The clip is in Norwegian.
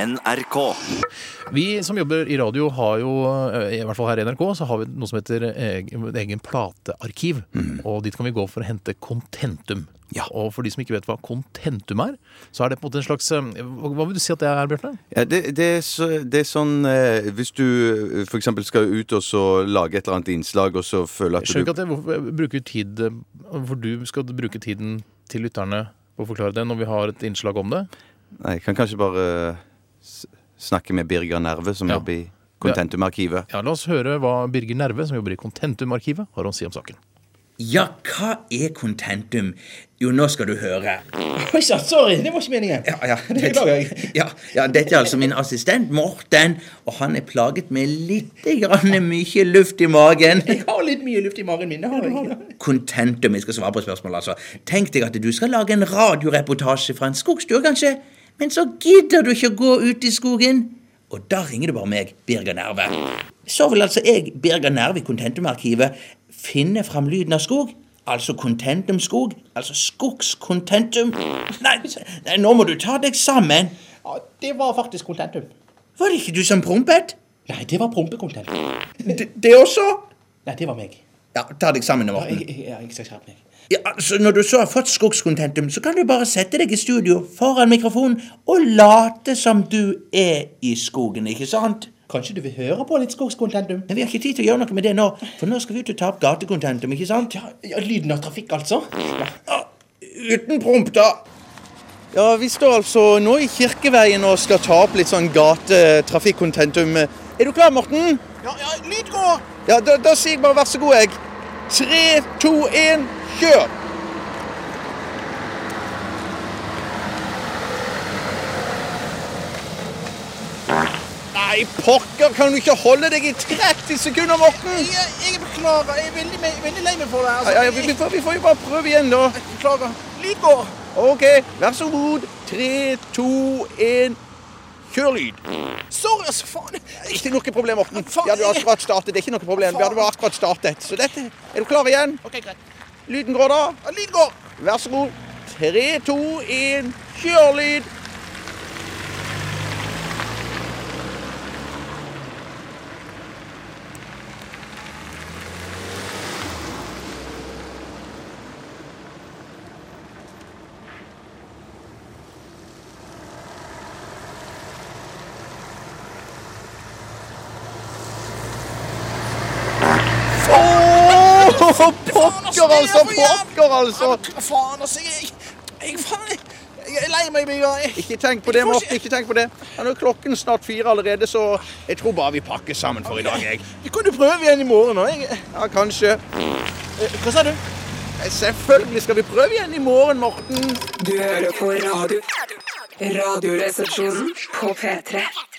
NRK. Vi som jobber i radio har jo, eh, i hvert fall her i NRK, så har vi noe som heter egen, egen platearkiv. Og dit kan vi gå for å hente kontentum. Ja. Og for de som ikke vet hva kontentum er, så er det på en måte en slags eh, Hva hva vil du si at det er, Bjarte? Ja, det, det, er så, det er sånn eh, Hvis du f.eks. skal ut og så lage et eller annet innslag, og så føler Jeg skjønner at du ikke at jeg hvorfor jeg bruker tid eh, Hvorfor du skal bruke tiden til lytterne på å forklare det når vi har et innslag om det. Nei, jeg kan kanskje bare eh, s- snakke med Birger Nerve, som Ja. jobber i Contentum-arkivet. Ja, La oss høre hva Birger Nerve, som jobber i Kontentum-arkivet, har å si om saken. Ja, hva er kontentum? Jo, nå skal du høre. Oi sann, sorry! Det var ikke meningen. Ja, ja. Det beklager jeg. Ja, ja, dette er altså min assistent Morten, og han er plaget med litt grann mye luft i magen. Jeg har litt mye luft i magen min. det har jeg. Kontentum, jeg skal svare på spørsmålet, altså. Tenk deg at du skal lage en radioreportasje fra en skogstue, kanskje, men så gidder du ikke å gå ut i skogen. Og da ringer du bare meg, Birger Nerve. Så vil altså jeg, Birger Nerve i Kontentum-arkivet, finne fram lyden av skog. Altså kontentum-skog. Altså skogskontentum. Nei, nei, nå må du ta deg sammen. Ja, Det var faktisk kontentum. Var det ikke du som prompet? Nei, det var prompekontentum. Det, det også? Nei, det var meg. Ja, ta deg sammen, Ja, Morten. Jeg, jeg, jeg skal skjerpe meg. Ja, altså Når du så har fått skogskontentum, så kan du bare sette deg i studio foran mikrofonen og late som du er i skogen, ikke sant? Kanskje du vil høre på litt skogskontentum? Men vi har ikke tid til å gjøre noe med det nå, for nå skal vi ut og ta opp gatekontentum, ikke sant? Ja, ja, lyden av trafikk, altså? Ja. Ja, uten promp, da. Ja, Vi står altså nå i Kirkeveien og skal ta opp litt sånn gatetrafikkontentum. Er du klar, Morten? Ja, ja, lyd går! Ja, Da, da sier jeg bare vær så god, jeg. Tre, to, én, kjør! Nei, pokker! Kan du ikke holde deg i 30 sekunder, Morten? Jeg, jeg beklager. Jeg er veldig, me- veldig lei meg for det. Altså, Ja, ja, vi, vi, får, vi får jo bare prøve igjen, da. Beklager. Lyd går! OK, vær så god. Tre, to, én, kjør lyd. Sorry, altså, faen. Ikke noe problem, Morten. Faen, Vi hadde jo jeg- akkurat startet. Det er ikke noe problem. Vi hadde jo akkurat startet. Så dette Er du klar igjen? Ok, greit. Lyden går, da. Ja, lyd går! Vær så god. Tre, to, én, kjør lyd. Åh, pokker, altså! Pokker, altså! Faen, altså. Jeg, jeg, faen, jeg, jeg er lei meg, Birger. Jeg- Ikke tenk på det, får Morten. Ikke tenk på det. Ja, Nå er klokken snart fire allerede, så jeg tror bare vi pakker sammen for i dag, jeg. Kan du prøve igjen i morgen? da? Jeg, Ja, kanskje. eh, hva sa du? Selvfølgelig skal vi prøve igjen i morgen, Morten. Du hører på radio. Radioresepsjonen på P3.